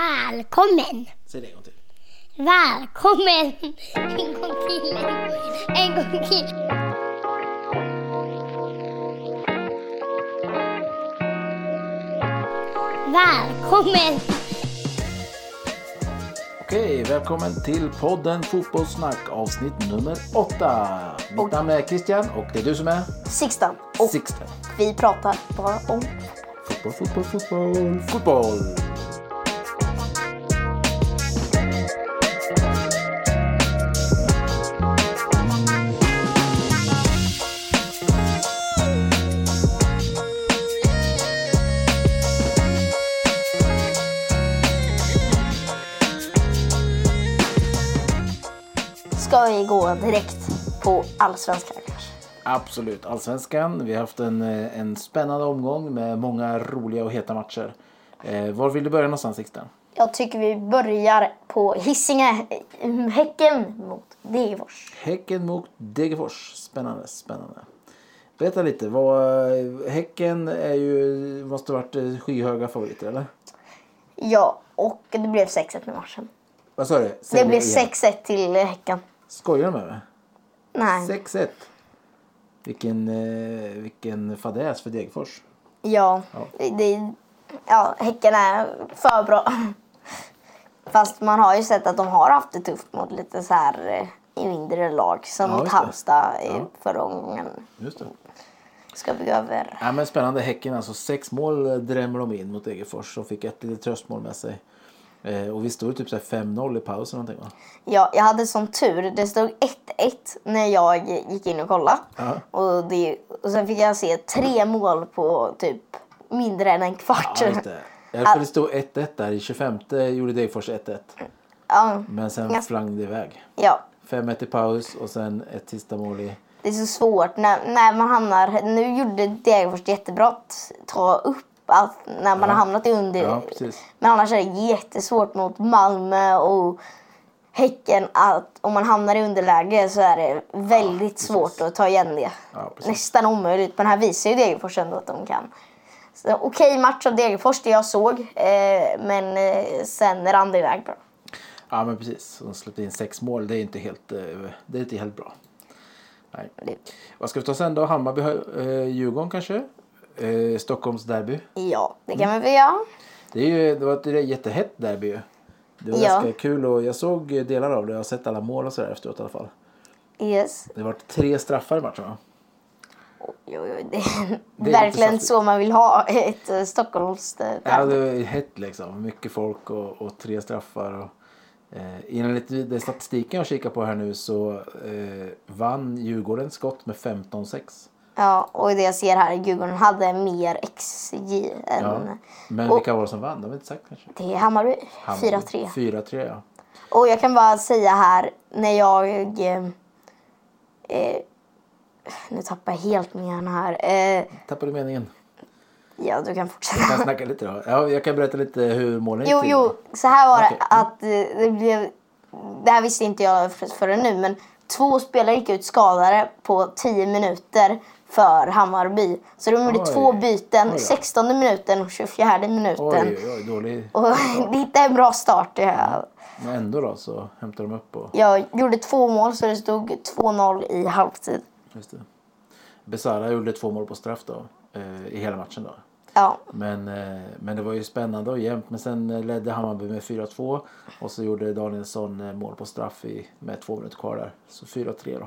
Välkommen! Säg det en gång till. Välkommen! En gång till. En gång till. Välkommen! Okej, välkommen till podden Fotbollssnack avsnitt nummer åtta. Mitt namn är Christian och det är du som är Sixten. Och Sixten. vi pratar bara om... Fotboll, fotboll, fotboll, fotboll. Ska vi gå direkt på allsvenskan kanske? Absolut, allsvenskan. Vi har haft en, eh, en spännande omgång med många roliga och heta matcher. Eh, var vill du börja någonstans Sixten? Jag tycker vi börjar på Hisingen. Häcken mot Degerfors. Häcken mot Degerfors. Spännande, spännande. Berätta lite. Vad, eh, häcken är ju, måste ha varit eh, skyhöga favoriter, eller? Ja, och det blev 6-1 i matchen. Vad sa du? Säg Det blev igen. 6-1 till Häcken. Skojar du med mig? Nej. 6-1. Vilken, eh, vilken fadäs för Degerfors. Ja, det- det, ja, Häcken är för bra. Fast man har ju sett att de har haft det tufft mot lite så här eh, mindre lag. Som Ja, mot just det. Halmstad i Ja. förra omgången. Just det. Ska vi gå över? Ja, men spännande. Häcken alltså. Sex mål eh, drämmer de in mot Degerfors och fick ett litet tröstmål med sig. Eh, och vi stod typ så här 5-0 i pausen. Någonting, va? Ja, jag hade som tur. Det stod 1-1 när jag gick in och kollade. Ja. Och, det, och sen fick jag se tre mål på typ mindre än en kvart. Ja, just det. Ja, för det stod 1-1 där. I 25 gjorde Degerfors 1-1. ja, Men sen Ganska- flang det iväg. ja. 5-1 i paus och sen ett sista mål i... Det är så svårt när, när man hamnar... Nu gjorde Degerfors ett jättebra att ta upp att när man Ja. har hamnat i under. Ja, precis. Men annars är det jättesvårt mot Malmö och Häcken att om man hamnar i underläge så är det väldigt svårt att ta igen det. Ja, precis. Nästan omöjligt, men här visar ju Degerfors ändå att de kan. Så Okej match av Degerfors, det jag såg, eh, men eh, sen rann det iväg bra. Ja, men precis. De släppte in sex mål. Det är inte helt, eh, det är inte helt bra. Nej. Det- Vad ska vi ta sen då? Hammarby, eh, Djurgården kanske? Eh, Stockholms derby. Ja, det Mm. kan vi väl göra. Det, är ju, det var ett jättehett derby ju. Det var Ja. ganska kul och jag såg delar av det. Jag har sett alla mål och sådär efteråt i alla fall. Yes. Det var tre straffar i matchen va? Jo, jo, det, Det är är lite verkligen saftigt. så man vill ha ett eh, Stockholms... eh, Ja, det var hett liksom. Mycket folk och, och tre straffar. Och, eh, enligt den statistiken jag kikar på här nu så eh, vann Djurgården skott med 15-6. Ja, och det jag ser här, Djurgården hade mer XJ än... Ja. Men Och- vilka var det som vann? Det har vi inte sagt kanske. Det är Hammarby, Hammarby. 4-3. 4-3 ja. Och jag kan bara säga här, när jag... Eh, eh, nu tappar jag helt min hjärna här. Eh, Tappade meningen. ja, du kan fortsätta. Jag kan snacka lite då. Ja, jag kan berätta lite hur målen Jo, gick till. jo, så här var Okej. Mm. det att eh, det blev... Det här visste inte jag för- förrän nu, men två spelare gick ut skadade på 10 minuter för Hammarby. Så de gjorde Oj. två byten, Oj då. 16 minuten och 24 Oj, minuten. oj, oj, dålig. Och det är inte en bra start. det här. Men ändå då så hämtar de upp och... Jag gjorde två mål så det stod 2-0 i halvtid. Just det. Besara gjorde två mål på straff då. Eh, I hela matchen då. Ja, Men, eh, men det var ju spännande och jämnt. Men sen eh, ledde Hammarby med 4-2. Och så gjorde Danielsson eh, mål på straff i, med två minuter kvar där. Så 4-3 då. Eh,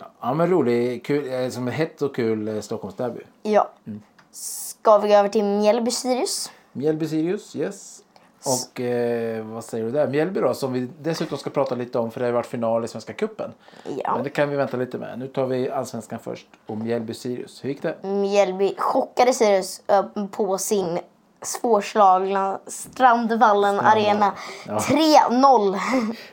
ja. ja men rolig, kul, eh, som ett hett och kul eh, Stockholmsderby. ja. Mm. Ska vi gå över till Mjällby-Sirius? Mjällby-Sirius, yes. Och eh, vad säger du där? Mjällby då, som vi dessutom ska prata lite om för det har ju varit final i Svenska Cupen. Ja. Men det kan vi vänta lite med. Nu tar vi Allsvenskan först och Mjällby-Sirius. Hur gick det? Mjällby chockade Sirius ö, på sin svårslagna Strandvallen arena. Ja. 3-0.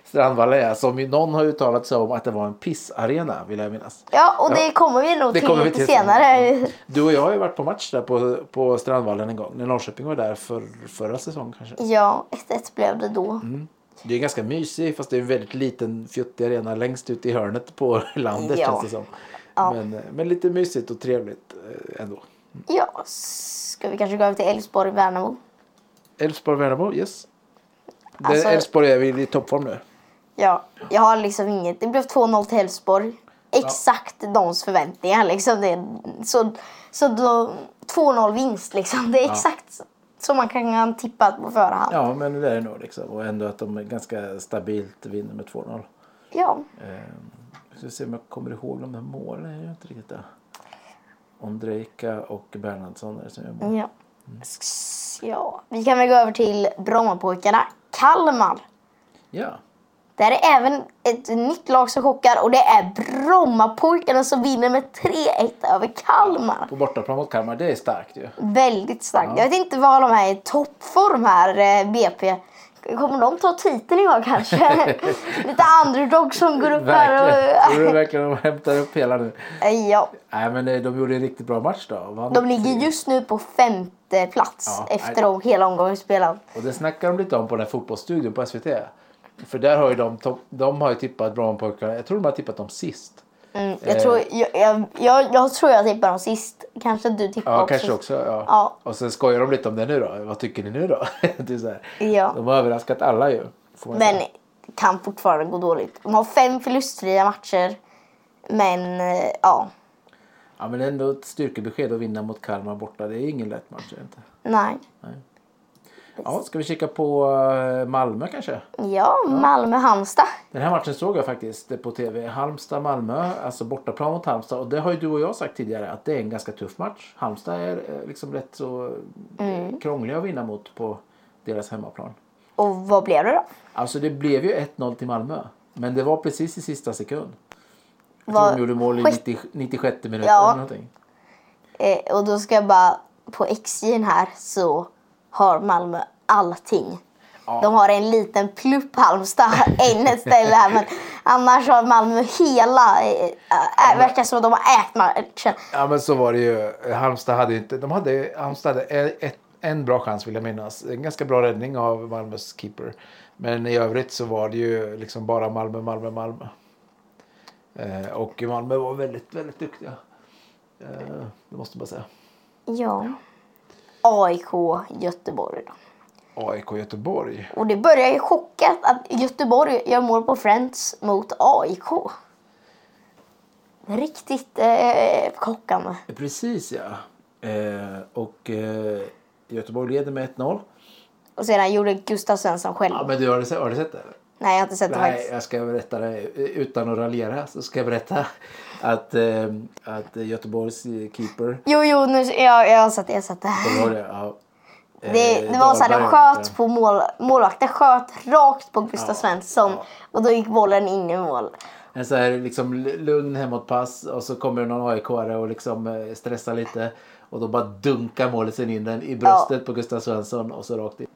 Strandvallen ja, som ju någon har uttalat sig om att det var en pissarena vill jag minnas. Ja, och det kommer vi nog Det till kommer vi lite till senare. Du och jag har ju varit på match där på, på Strandvallen en gång. När Norrköping var där för, förra säsongen kanske. Ja, 1-1 blev det då. Det är ganska mysig fast det är en väldigt liten fjuttig arena längst ut i hörnet på landet Ja. känns det som. Men, eh, men lite mysigt och trevligt eh, ändå. Ja, ska vi kanske gå över till Elfsborg-Värnamo? Elfsborg-Värnamo, yes. Det- Alltså- Elfsborg är väl i toppform nu. Ja, jag har liksom inget. Det blev 2-0 till Elfsborg. Exakt deras förväntningar liksom. Det är, så så då, 2-0 vinst liksom. Det är exakt som man kan tippa på förhand. Ja. Ja, men det är det nog liksom. Och ändå att de ganska stabilt vinner med 2-0. Eh, vi ska se om jag kommer ihåg de här målen. Jag gör inte riktigt det. Ondrejka och Bernhardsson är det som gör mål. Ja. S- ja. Vi kan väl gå över till Brommapojkarna. Kalmar. Ja, Där är även ett nytt lag som chockar och det är Brommapojkarna som vinner med 3-1 över Kalmar. på bortaplan mot Kalmar. Det är starkt ju. Väldigt starkt. Jag vet inte vad de här är i toppform här, eh, BP. Kommer de ta titeln i år kanske? Lite underdog som går upp Verkligen. här Tror du och... verkligen de hämtar upp hela nu? ja, Nej, men eh, de gjorde en riktigt bra match då. Vann de ligger just nu på femte plats Ja, efter om hela omgången spelad. Och det snackar de lite om på den här fotbollsstudion på SVT. För där har ju de, to- de har ju tippat Brommapojkarna. Jag tror de har tippat dem sist. Mm, Eh. jag, tror, jag, jag, jag, jag tror jag tippade dem sist. Kanske du tippade Ja, också. kanske också. Ja. Ja. Och sen skojar de lite om det nu då. Vad tycker ni nu då? det är så här. Ja. De har överraskat alla ju. får man Men säga. kan fortfarande gå dåligt. De har fem förlustfria matcher. Men eh, ja, Ja, men ändå ett styrkebesked att vinna mot Kalmar borta. Det är ingen lätt match. är det Inte. nej. Ja, ska vi kika på eh, Malmö kanske? Ja, Malmö-Halmstad. Den här matchen såg jag faktiskt på tv. Halmstad-Malmö, alltså bortaplan mot Halmstad. Och det har ju du och jag sagt tidigare att det är en ganska tuff match. Halmstad är eh, liksom rätt så mm. krångliga att vinna mot på deras hemmaplan. Och vad blev det då? Alltså det blev ju 1-0 till Malmö. Men det var precis i sista sekund. Jag Var- tror de gjorde mål i Skit- 90, 96 minuten Ja. eller någonting. Eh, och då ska jag bara, på XJ'n här så har Malmö allting. Ja. De har en liten plupp Halmstad, en ett ställe här men annars har Malmö hela, eh, eh, verkar som att de har ägt matchen. Ja men så var det ju. Halmstad hade ju inte, de hade, Halmstad hade e- ett, en bra chans vill jag minnas. En ganska bra räddning av Malmös keeper. Men i övrigt så var det ju liksom bara Malmö, Malmö, Malmö. Eh, och Malmö var väldigt, väldigt duktiga. Eh, det måste man säga. Ja. AIK Göteborg då. AIK Göteborg. Och det börjar ju chocka att Göteborg gör mål på Friends mot AIK. Riktigt eh, chockande. Precis ja. Eh, och eh, Göteborg leder med 1-0. Och sedan gjorde Gustav Svensson själv. Ja, men du har, du sett- har du sett det? Nej, jag har inte sett det Nej, faktiskt. jag ska berätta det utan att raljera. Så ska jag berätta att, eh, att Göteborgs eh, keeper Jo, jo, nu, jag, jag har sett det. Jag har sett det. Kommer du ihåg det? Ja. Eh, Det, det var så här, de Dahlberg heter sköt på mål, målvakten sköt rakt på Gustav Svensson och då gick bollen in i mål. En så här liksom l- lugn hemåtpass och så kommer det någon aik och liksom eh, stressar lite. Och då bara dunkar målisen in den i bröstet på Gustav Svensson och så rakt in.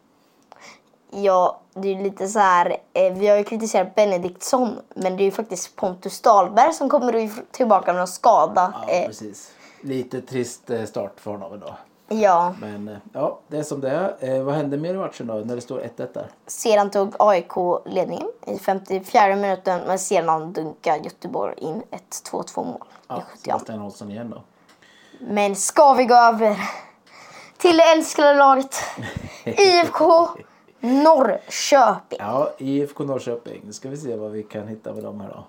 Ja, det är ju lite så här, eh, vi har ju kritiserat Benediktsson men det är ju faktiskt Pontus Dahlberg som kommer if- tillbaka med någon skada. Ja, eh, precis. Lite trist eh, start för honom ändå. ja. Men eh, ja, det är som det är. Eh, Vad hände mer i matchen då när det står 1-1 där? Sedan tog AIK ledningen i 54 minuten men sedan dunkade Göteborg in ett 2-2 mål i Ja, 70 Sebastian Olsson igen då. Men ska vi gå över till det älskade laget IFK Norrköping. Ja, IFK Norrköping. Nu ska vi se vad vi kan hitta med dem här då.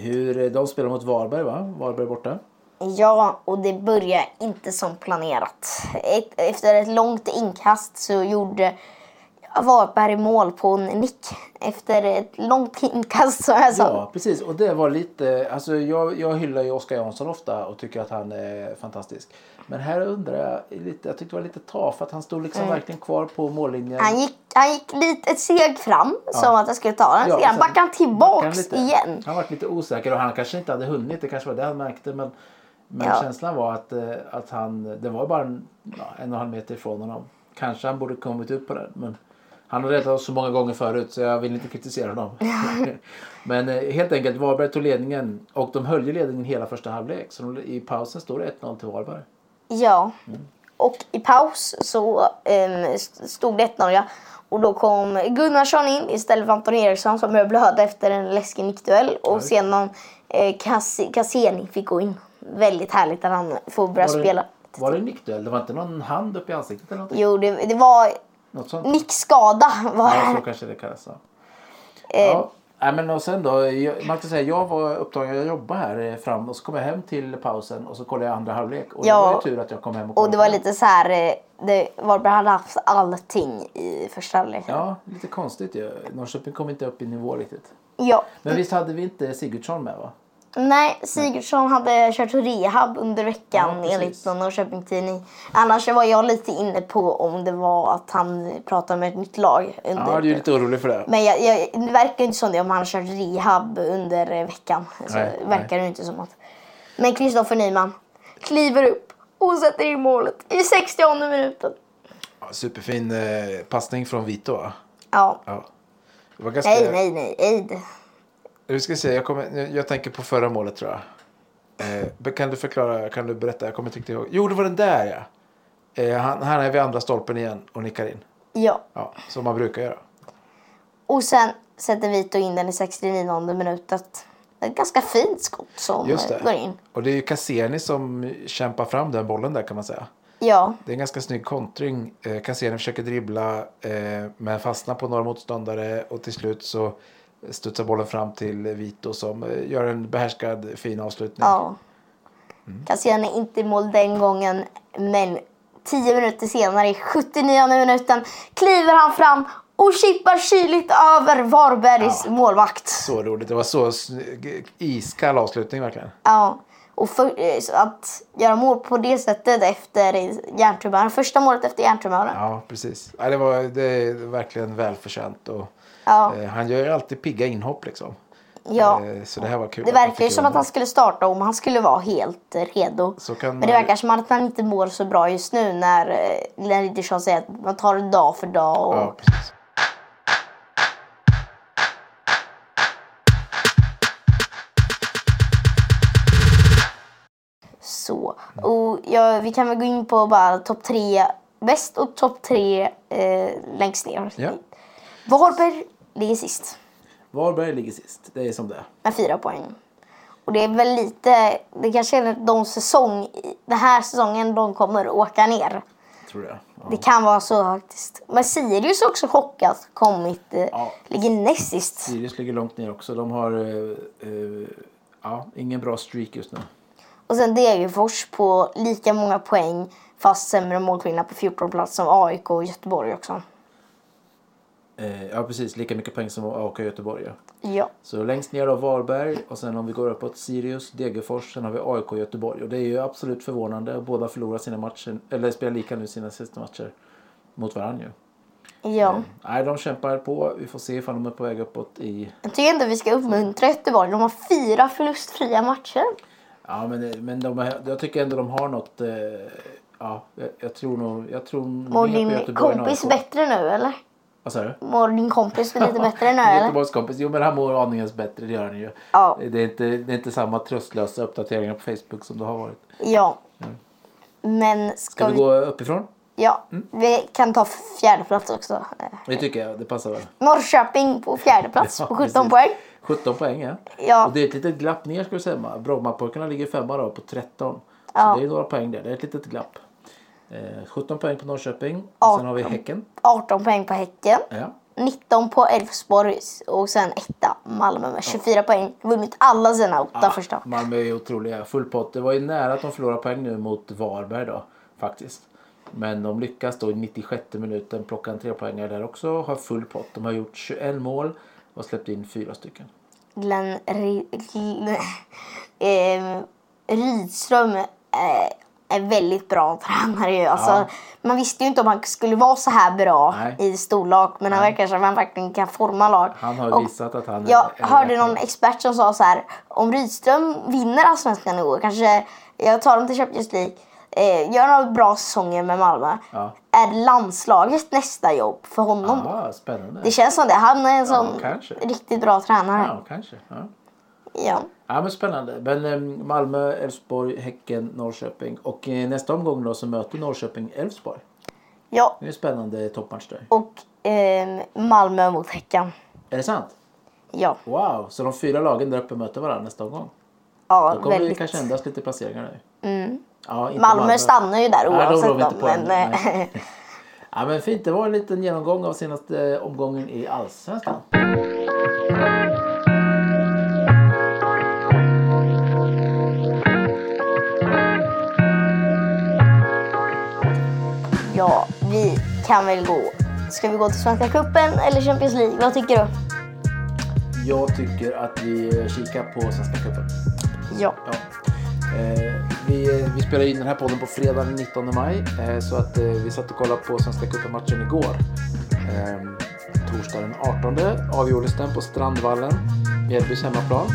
Hur, eh, de spelar mot Varberg va? Varberg borta. Ja, och det började inte som planerat. Ett, efter ett långt inkast så gjorde Varberg mål på en nick. Efter ett långt inkast som jag sa. Ja, precis. Och det var lite... Alltså jag, jag hyllar ju Oskar Jansson ofta och tycker att han är fantastisk. Men här undrar jag lite... Jag tyckte det var lite tafatt. Han stod liksom verkligen kvar på mållinjen. Han gick, han gick lite ett steg fram som att Alltså, jag skulle ta den. Ja, sen sedan backade han backade tillbaks lite. igen. Han var lite osäker och han kanske inte hade hunnit. Det kanske var det han märkte. Men, men Ja. känslan var att, eh, att han... Det var bara en, ja, en och en halv meter ifrån honom. Kanske han borde kommit ut på den. Men han har räddat oss så många gånger förut så jag vill inte kritisera honom. men eh, helt enkelt, Varberg tog ledningen och de höll ju ledningen hela första halvlek. Så de, i pausen står det 1-0 till Varberg. Ja. Och i paus så ehm, st- stod det 1-0 ja. Och då kom Gunnarsson in istället för Anton Eriksson som jag blödde efter en läskig nickduell. Och sedan eh, Kas- Cassini fick gå in. Väldigt härligt att han får börja Var det- spela. vet. Var det en nickduell? Det var inte någon hand upp i ansiktet eller någonting? Jo, det, det var Något sånt? nickskada. Var Ja, så det. kanske det kallas. Ja. Eh, Ja. Nej, men och sen då, jag, man kan säga, jag var upptagen, jag jobbade här eh, fram och så kom jag hem till pausen och så kollade jag andra halvlek. Och Ja. det var ju tur att jag kom hem och kollade. Och det var på den. lite så här, eh, det, Varberg hade haft allting i första halvlek. Ja. Ja, lite konstigt ju. Norrköping kom inte upp i nivå riktigt. ja. Men visst hade vi inte Sigurdsson med va? Nej, Sigurdsson hade kört rehab under Ja, veckan precis. enligt någon Norrköping tidning. Annars var jag lite inne på om det var att han pratade med ett nytt lag. Under Ja, du är ju lite orolig för det. Men jag, jag, det verkar ju inte som det om han har kört rehab under eh, veckan. Så Nej, verkar det ju inte som att. Men Kristoffer Nyman kliver upp och sätter in målet i 60 minuten. Superfin eh, passning från Vito va? Ja. Ja. Det var ganska... Nej, nej, nej, nej. Du ska se, jag, kommer, jag- jag tänker på förra målet tror jag. Eh, men kan du förklara, kan du berätta? Jag kommer inte riktigt ihåg. Jo, det var den där ja. Eh, han, han är vid andra stolpen igen och nickar in. Ja. Ja, som man brukar göra. Och sen sätter Vito in den i 69 minuten. Ett ganska fint skott som Just eh, går det. in. Och det är ju Cassini som kämpar fram den bollen där kan man säga. Ja, Det är en ganska snygg kontring. Eh, Cassini försöker dribbla eh, men fastnar på några motståndare och till slut så studsar bollen fram till Vito som eh, gör en behärskad fin avslutning. ja. Mm. Cassian är inte i mål den gången, men 10 minuter senare i 79 minuten kliver han fram och chippar kyligt över Varbergs Ja. målvakt. Så roligt. Det var så snygg- iskall avslutning verkligen. Ja. Och för, eh, så att göra mål på det sättet efter hjärntumören, första målet efter hjärntumören. Ja, precis. Ja, det, var, det är verkligen välförtjänt. Och, Ja. eh, han gör ju alltid pigga inhopp liksom. Ja. Eh, så det här var kul. Det att han verkar ju fick som göra att han mål. skulle starta om han skulle vara helt eh, redo. Så kan Men det man- verkar som att han inte mår så bra just nu när eh, Glenn Riddersson säger att man tar det dag för dag. Och... Ja, precis. Så. Och ja, vi kan väl gå in på bara topp tre bäst och topp tre eh, längst ner. Ja. Varberg ligger sist Varberg ligger sist. Det är som det är. med fyra poäng. Och det är väl lite, det kanske är de säsong, den här säsongen de kommer åka ner. Tror jag. Ja. Det kan vara så faktiskt. Men Sirius har också chockat kommit, eh, Ja. ligger näst sist. Sirius ligger långt ner också. De har eh, eh, ja, ingen bra streak just nu. Och sen Degerfors på lika många poäng fast sämre målskillnad på 14 plats som AIK och Göteborg också. Eh, ja, precis. Lika mycket poäng som AIK och Göteborg. Ja. Ja. Så längst ner då Varberg och sen om vi går uppåt Sirius, Degerfors, sen har vi AIK och Göteborg. Och det är ju absolut förvånande. Båda förlorar sina matcher, eller spelar lika nu sina sista matcher mot varandra ju. ja. Nej, de kämpar på. Vi får se ifall de är på väg uppåt i... Jag tycker ändå vi ska uppmuntra Göteborg. De har fyra förlustfria matcher. Ja, men, men de, är- jag tycker ändå de har något... Eh, ja, jag, jag tror nog... Jag tror Mår mer på din Göteborg än kompis AIK. bättre nu eller? Vad sa du? Mår din kompis lite bättre nu eller? Göteborgs kompis. Jo, men han mår aningens bättre. Det gör han ju. Ja. Det, är inte, det är inte samma tröstlösa uppdateringar på Facebook som det har varit. Ja. Men ska, Ska vi vi... gå Mm. uppifrån? Ja. Vi kan ta fjärde plats också. Eh, Det tycker jag. Det passar väl. Norrköping på fjärde plats Ja, på 17 precis. poäng. 17 poäng, ja. Ja. Och det är ett litet glapp ner ska vi säga. Brommapojkarna ligger femma då på 13. Så Ja. det är några poäng där. Det är ett litet glapp. Eh, 17 poäng på Norrköping. Ja. Och sen har vi Häcken. 18 poäng på Häcken. Ja. 19 på Elfsborg och sen etta Malmö med 24 poäng. Vunnit alla sina åtta Ja, första. Malmö är ju otroliga. Full pott. Det var ju nära att de förlorade poäng nu mot Varberg då. Faktiskt. Men de lyckas då i 96 minuten plocka en trepoängare där också. Har full pott. De har gjort 21 mål och släppt in fyra stycken. Glenn Ri- Glenn- eh, Rydström eh, är väldigt bra tränare ju. Alltså, Ja. Man visste ju inte om han skulle vara så här bra Nej. i storlag men han verkar som att han verkligen kan forma lag. Han har ju Och visat att han Jag en hörde jäkla- någon expert som sa så här, om Rydström vinner allsvenskan i år, kanske jag tar dem till Champions League, eh, gör några bra säsonger med Malmö, Ja. är landslaget nästa jobb för honom? Aha, spännande. Det känns som det. Han är en sån kanske. riktigt bra tränare. Ja, kanske. Ja. Ja. Ja, men spännande. Men eh, Malmö, Elfsborg, Häcken, Norrköping. Och eh, nästa omgång då så möter Norrköping Elfsborg. Ja, Det är en spännande toppmatch där. och eh, Malmö mot Häcken. Är det sant? Ja, Wow! Så de fyra lagen där uppe möter varandra nästa omgång. ja Då kommer det väldigt. kanske ändras lite placeringar nu. Mm. Ja, inte Malmö, stannar ju där Nej, de oavsett rår vi inte om, på men, eh, än. Ja, men fint, det var en liten genomgång av senaste eh, omgången i Allsvenskan. ja, vi kan väl gå. Ska vi gå till Svenska Cupen eller Champions League? Vad tycker du? Jag tycker att vi eh, kikar på Svenska cupen. Ja. Ja. Eh, vi, vi spelar in den här podden på fredag den 19 maj. Eh, så att eh, vi satt och kollade på Svenska cupen-matchen igår. Eh, torsdag den 18 avgjordes den på Strandvallen, Mjällbys hemmaplan.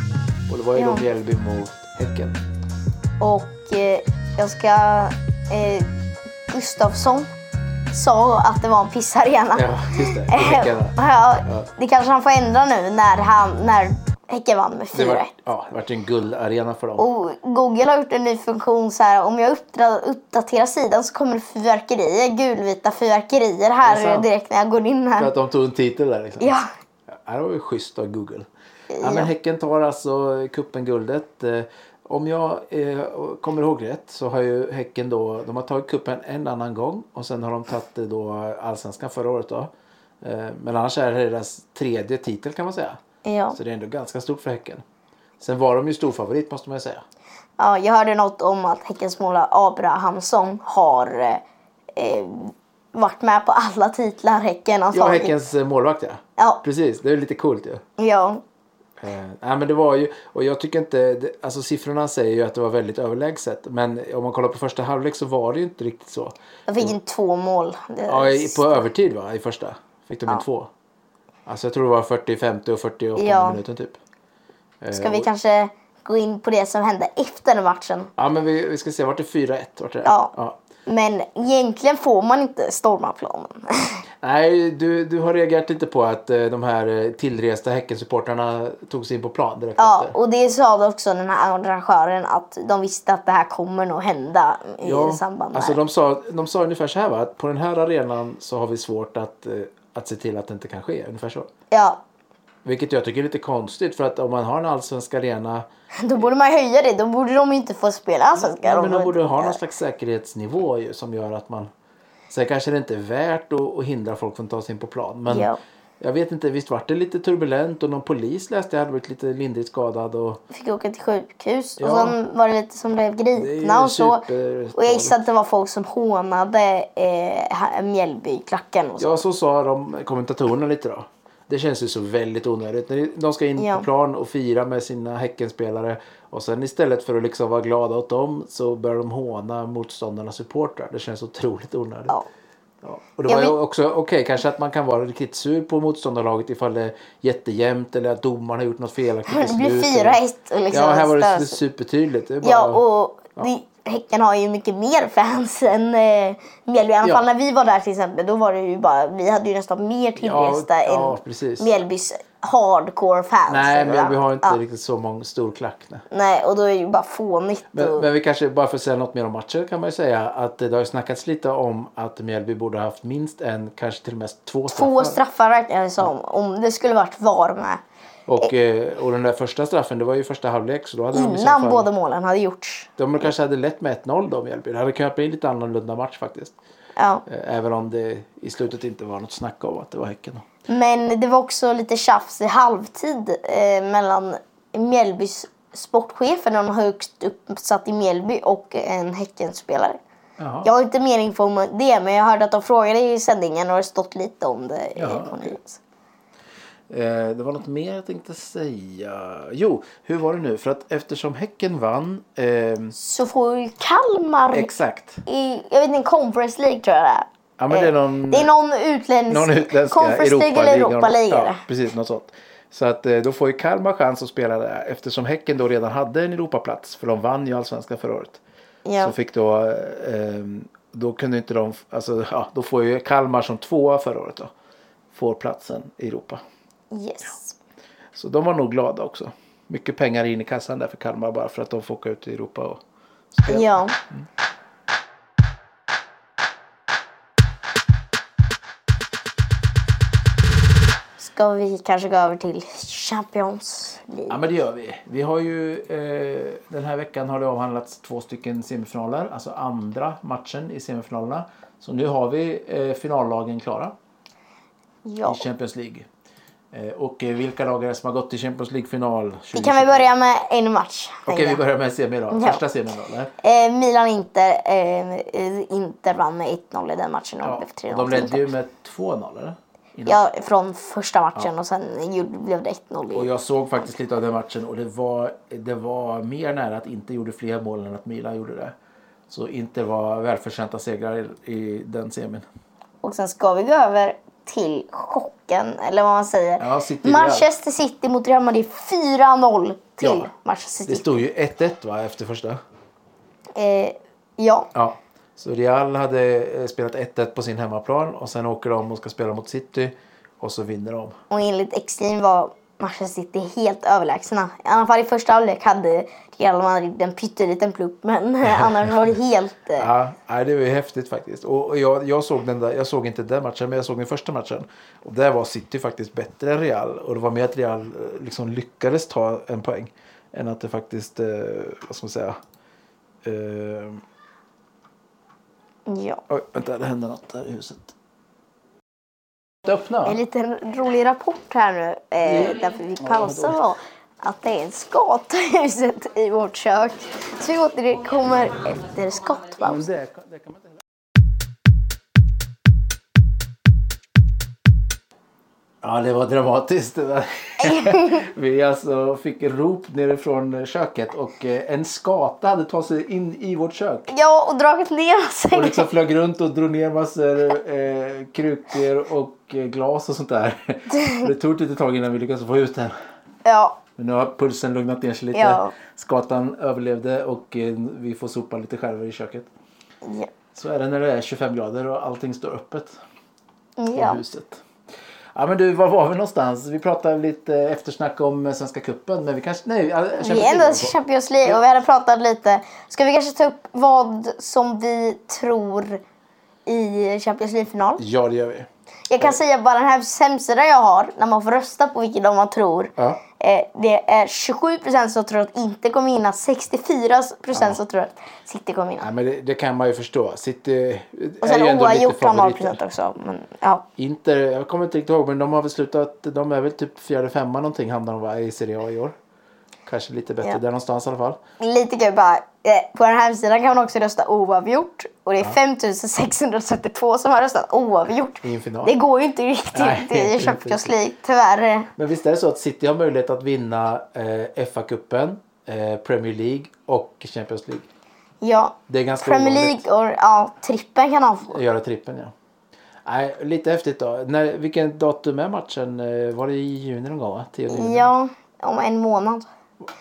Och det var ju Ja. då Mjällby mot Häcken. Och eh, jag ska... Eh, Gustafsson sa att det var en pissarena. Eh, Ja, just det. på Häcken. ja, Ja. det kanske han får ändra nu när, han, när Häcken vann med Det 4-1. var, ja, det vart en guldarena för dem. Och Google har gjort en ny funktion så här, om jag uppdra- uppdaterar sidan så kommer det fyrverkerier, gulvita fyrverkerier Är det här sant? direkt när jag går in För här. att de tog en titel där liksom. Ja, Ja, det var ju schysst av Google. Ja, men häcken tar alltså cupen-guldet. Eh, Om jag eh, kommer ihåg rätt så har ju Häcken då, de har tagit cupen en annan gång och sen har de tagit det då allsvenskan förra året då. Eh, Men annars är det deras tredje titel kan man säga. ja. Så det är ändå ganska stort för Häcken. Sen var de ju storfavorit måste man ju säga. ja. Jag hörde något om att Häckens målare Abrahamsson har eh, eh, varit med på alla titlar Häcken har Ja, tagit. Häckens eh, målvakt ja. Ja, Precis, det är ju lite coolt ju. ja. Eh, nej men det var ju, och jag tycker inte, det, alltså siffrorna säger ju att det var väldigt överlägset. Men om man kollar på första halvlek så var det ju inte riktigt så. Jag fick in två mål. Det- Mm. Ja, i, på övertid va, i första? Fick de in två? Alltså jag tror det var 40, 50 och 48 Ja. minuten typ. Eh, Ska vi och- kanske gå in på det som hände efter den matchen? Ja men vi, vi ska se, vart det 4-1? Vart är det? Ja. Men egentligen får man inte storma planen. Nej, du, du har reagerat lite på att eh, de här eh, tillresta Häckensupportrarna tog sig in på plan direkt Ja, efter. och det sa också den här arrangören att de visste att det här kommer nog hända i samband med. alltså de sa, de sa ungefär så här va, att på den här arenan så har vi svårt att, eh, att se till att det inte kan ske. Ungefär så. Ja, Vilket jag tycker är lite konstigt för att om man har en allsvensk arena då borde man höja det. Då borde de ju inte få spela allsvenskan. Ja, men de borde ha inte- någon slags säkerhetsnivå ju, som gör att man... Sen kanske det inte är värt att, att hindra folk från att ta sig in på plan. Men Ja. jag vet inte, visst vart det lite turbulent och någon polis läste jag hade blivit lite lindrigt skadad. Och Fick åka till sjukhus Ja. och sen var det lite som blev ju gripna och så. super- Och jag gissar att det var folk som hånade eh, här- Mjällbyklacken och så. ja, så sa de kommentatorerna lite då. Det känns ju så väldigt onödigt. När De ska in Ja. på plan och fira med sina Häckenspelare och sen istället för att liksom vara glada åt dem så börjar de håna motståndarnas supportrar. Det känns otroligt onödigt. Ja. Ja. Och det Jag var ju vet- också, okej kanske att man kan vara riktigt sur på motståndarlaget ifall det är jättejämnt eller att domaren har gjort något felaktigt Det blir beslut 4-1 och liksom Ja, här var det stös. supertydligt. Det är bara... Ja, och det, Häcken har ju mycket mer fans än eh, Mjällby. I alla Ja. fall när vi var där till exempel, då var det ju bara, vi hade ju nästan mer tillresta Ja, ja, än precis. Mjällbys hardcore fans. Nej, eller men vi vad? har inte Ja. riktigt så många stor klack. Nej. Nej, och då är det ju bara fånigt. Men, och, men vi kanske, bara för att säga något mer om matcher kan man ju säga att det har ju snackats lite om att Mjällby borde ha haft minst en, kanske till och med två straffar. Två straffar räknar det som, om det skulle varit VAR med. och, eh, och den där första straffen, det var ju första halvlek så då hade de i så Innan fall- båda målen hade gjorts. De kanske hade lett med 1-0 då Mjällby. Det hade kunnat bli en lite annorlunda match faktiskt. Ja. Eh, Även om det i slutet inte var något snack om att det var Häcken. då. Men det var också lite tjafs i halvtid eh, mellan Mjällbys sportchefen, någon högst uppsatt i Mjällby, och en Häckenspelare. Jaha. Jag har inte mer info om det, men jag hörde att de frågade i sändningen och det har stått lite om det. i Ja, journalis. Eh, det var något mer jag tänkte säga. Jo, hur var det nu? För att eftersom Häcken vann... ehm, Så får ju Kalmar exakt. i, jag vet inte, Conference League tror jag det är. Ja, men det är någon, Eh, Det är någon utländsk, någon utländsk Conference League eller Europa League. är Ja, det. precis. Något sånt. Så att eh, då får ju Kalmar chans att spela där eftersom Häcken då redan hade en Europaplats för de vann ju allsvenskan förra året. Ja. Som fick då, ehm, då kunde inte de, alltså ja, då får ju Kalmar som tvåa förra året då. Får platsen i Europa. Yes. Så de var nog glada också. Mycket pengar in i kassan där för Kalmar bara för att de får åka ut i Europa och spela. Ja. Ska vi kanske gå över till Champions? blir. Ja, men det gör vi. Vi har ju, eh, den här veckan har det avhandlats två stycken semifinaler, alltså andra matchen i semifinalerna. Så nu har vi eh, finallagen klara Ja. i Champions League. Eh, och eh, vilka lag är det som har gått till Champions League-final? Vi kan väl börja med en match. tänker Okej, vi jag. börjar med semi då. Ja. Första semin då, eller? Eh, Milan-Inter. Eh, Inter vann med 1-0 i den matchen. och Ja. blev 3-0 De till ledde Inter. ju med 2-0, eller? Innan. Ja, från första matchen och sen gjorde- blev det 1-0. Och i- jag såg faktiskt lite av den matchen och det var, det var mer nära att inte gjorde fler mål än att Milan gjorde det. Så inte var välförtjänta segrar i, i den semin. Och sen ska vi gå över till chocken, eller vad man säger. Ja, City Manchester City mot Real Madrid 4-0 till Ja. Manchester Det City. stod ju 1-1 va, efter första. Eh, ja, Ja. Så Real hade eh, spelat 1-1 på sin hemmaplan och sen åker de och ska spela mot City och så vinner de. och enligt Extreme var Manchester City helt överlägsna. I alla fall i första halvlek hade Real Madrid en pytteliten plupp, men eh, annars var det helt... Eh, Ja, nej, det var ju häftigt faktiskt. Och och jag, jag, såg den där, jag såg inte den matchen, men jag såg den första matchen. Och där var City faktiskt bättre än Real. Och det var mer att Real eh, liksom lyckades ta en poäng. Än att det faktiskt, eh, vad ska man säga. Eh, ja. oj, vänta, det hände något där i huset. Öppna! En liten rolig rapport här nu, eh, därför vi pausar var att det är en skata i huset i vårt kök. Så vi återkommer efter skottpaus. Det, det kan man inte... Ja, det var dramatiskt. Det där. Vi alltså fick rop nerifrån köket och eh, en skata hade tagit sig in i vårt kök. Ja, och dragit ner Och sig. liksom flög runt och drog ner massor eh, krukor och eh, glas och sånt där. Det tog lite tag innan vi lyckades få ut den. Ja, Men nu har pulsen lugnat ner sig lite. Ja. Skatan överlevde och eh, vi får sopa lite själva i köket. ja, Så är det när det är 25 grader och allting står öppet i ja. huset. Ja men du, var var vi någonstans? Vi pratade lite eftersnack om eh, Svenska Cupen men vi kanske... Nej, äh, Champions Vi League är ändå var i vi på. Champions League och vi hade pratat lite. Ska vi kanske ta upp vad som vi tror i Champions League-final? Ja, det gör vi. Jag kan säga bara den här hemsidan jag har, när man får rösta på vilken de man tror. Ja. Eh, Det är 27% som tror att inte kommer vinna, 64% som tror att City kommer vinna. Nej, men det, det kan man ju förstå. City Och är ju sen ändå lite oavgjort har favoriter. 0% också. Men, ja. Inter, jag kommer inte riktigt ihåg men de har väl slutat, de är väl typ fjärde, femma någonting hamnar de va, i Serie A i år. Kanske lite bättre Ja. där någonstans i alla fall. Lite kul bara. eh, På den här hemsidan kan man också rösta oavgjort. Och det är 5632 som har röstat oavgjort. I en final. Det går ju inte riktigt Nej, det är i inte Champions riktigt. League, tyvärr. Men visst är det så att City har möjlighet att vinna eh, FA-cupen, eh, Premier League och Champions League. Ja, Det är ganska Premier ovanligt. League och ja, trippen kan de få. Göra trippen ja. Nej, lite häftigt då. När, vilken datum är matchen? Eh, Var det i juni någon gång? Va? 10 juni? Ja, om en månad.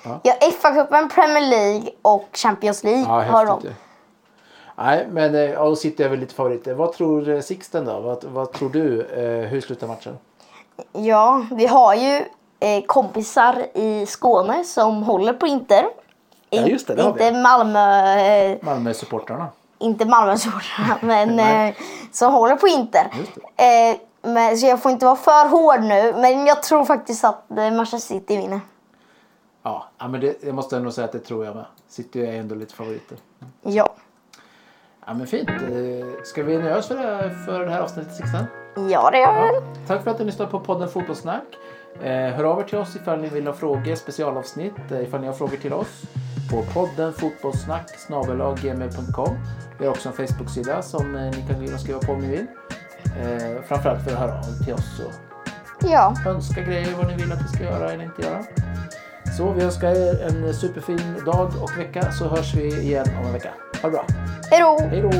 Mm. Ja. Ja, FA-cupen, Premier League och Champions League ja har häftigt de. ju. Nej, men eh, ja, och City är väl lite favoriter. Vad tror eh, Sixten då? Vad, vad tror du? Eh, hur slutar matchen? Ja, vi har ju eh, kompisar i Skåne som håller på Inter. Ja, just det, det har vi. inte Malmö... Eh, Malmö-supportrarna. inte Malmösupportrarna, men eh, som håller på Inter. Eh, men, så jag får inte vara för hård nu, men jag tror faktiskt att eh, Manchester City vinner. Ja, ja, men det, jag måste ändå säga att det tror jag med. City är ändå lite favoriter. Ja. Ja, men fint. Eh, Ska vi nöja oss för det här, för det här avsnittet, Sixten? Ja, det gör jag väl. Tack för att ni lyssnade på podden Fotbollssnack. Eh, hör av er till oss ifall ni vill ha frågor, specialavsnitt, eh, ifall ni har frågor till oss på podden fotbollssnack gmail.com. Vi har också en Facebook-sida som eh, ni kan gå in och skriva på om ni vill. Eh, framförallt för att höra av er till oss och Ja. önska grejer, vad ni vill att vi ska göra eller inte göra. Så vi önskar er en superfin dag och vecka så hörs vi igen om en vecka. Ha det bra. Hej då! Hej då!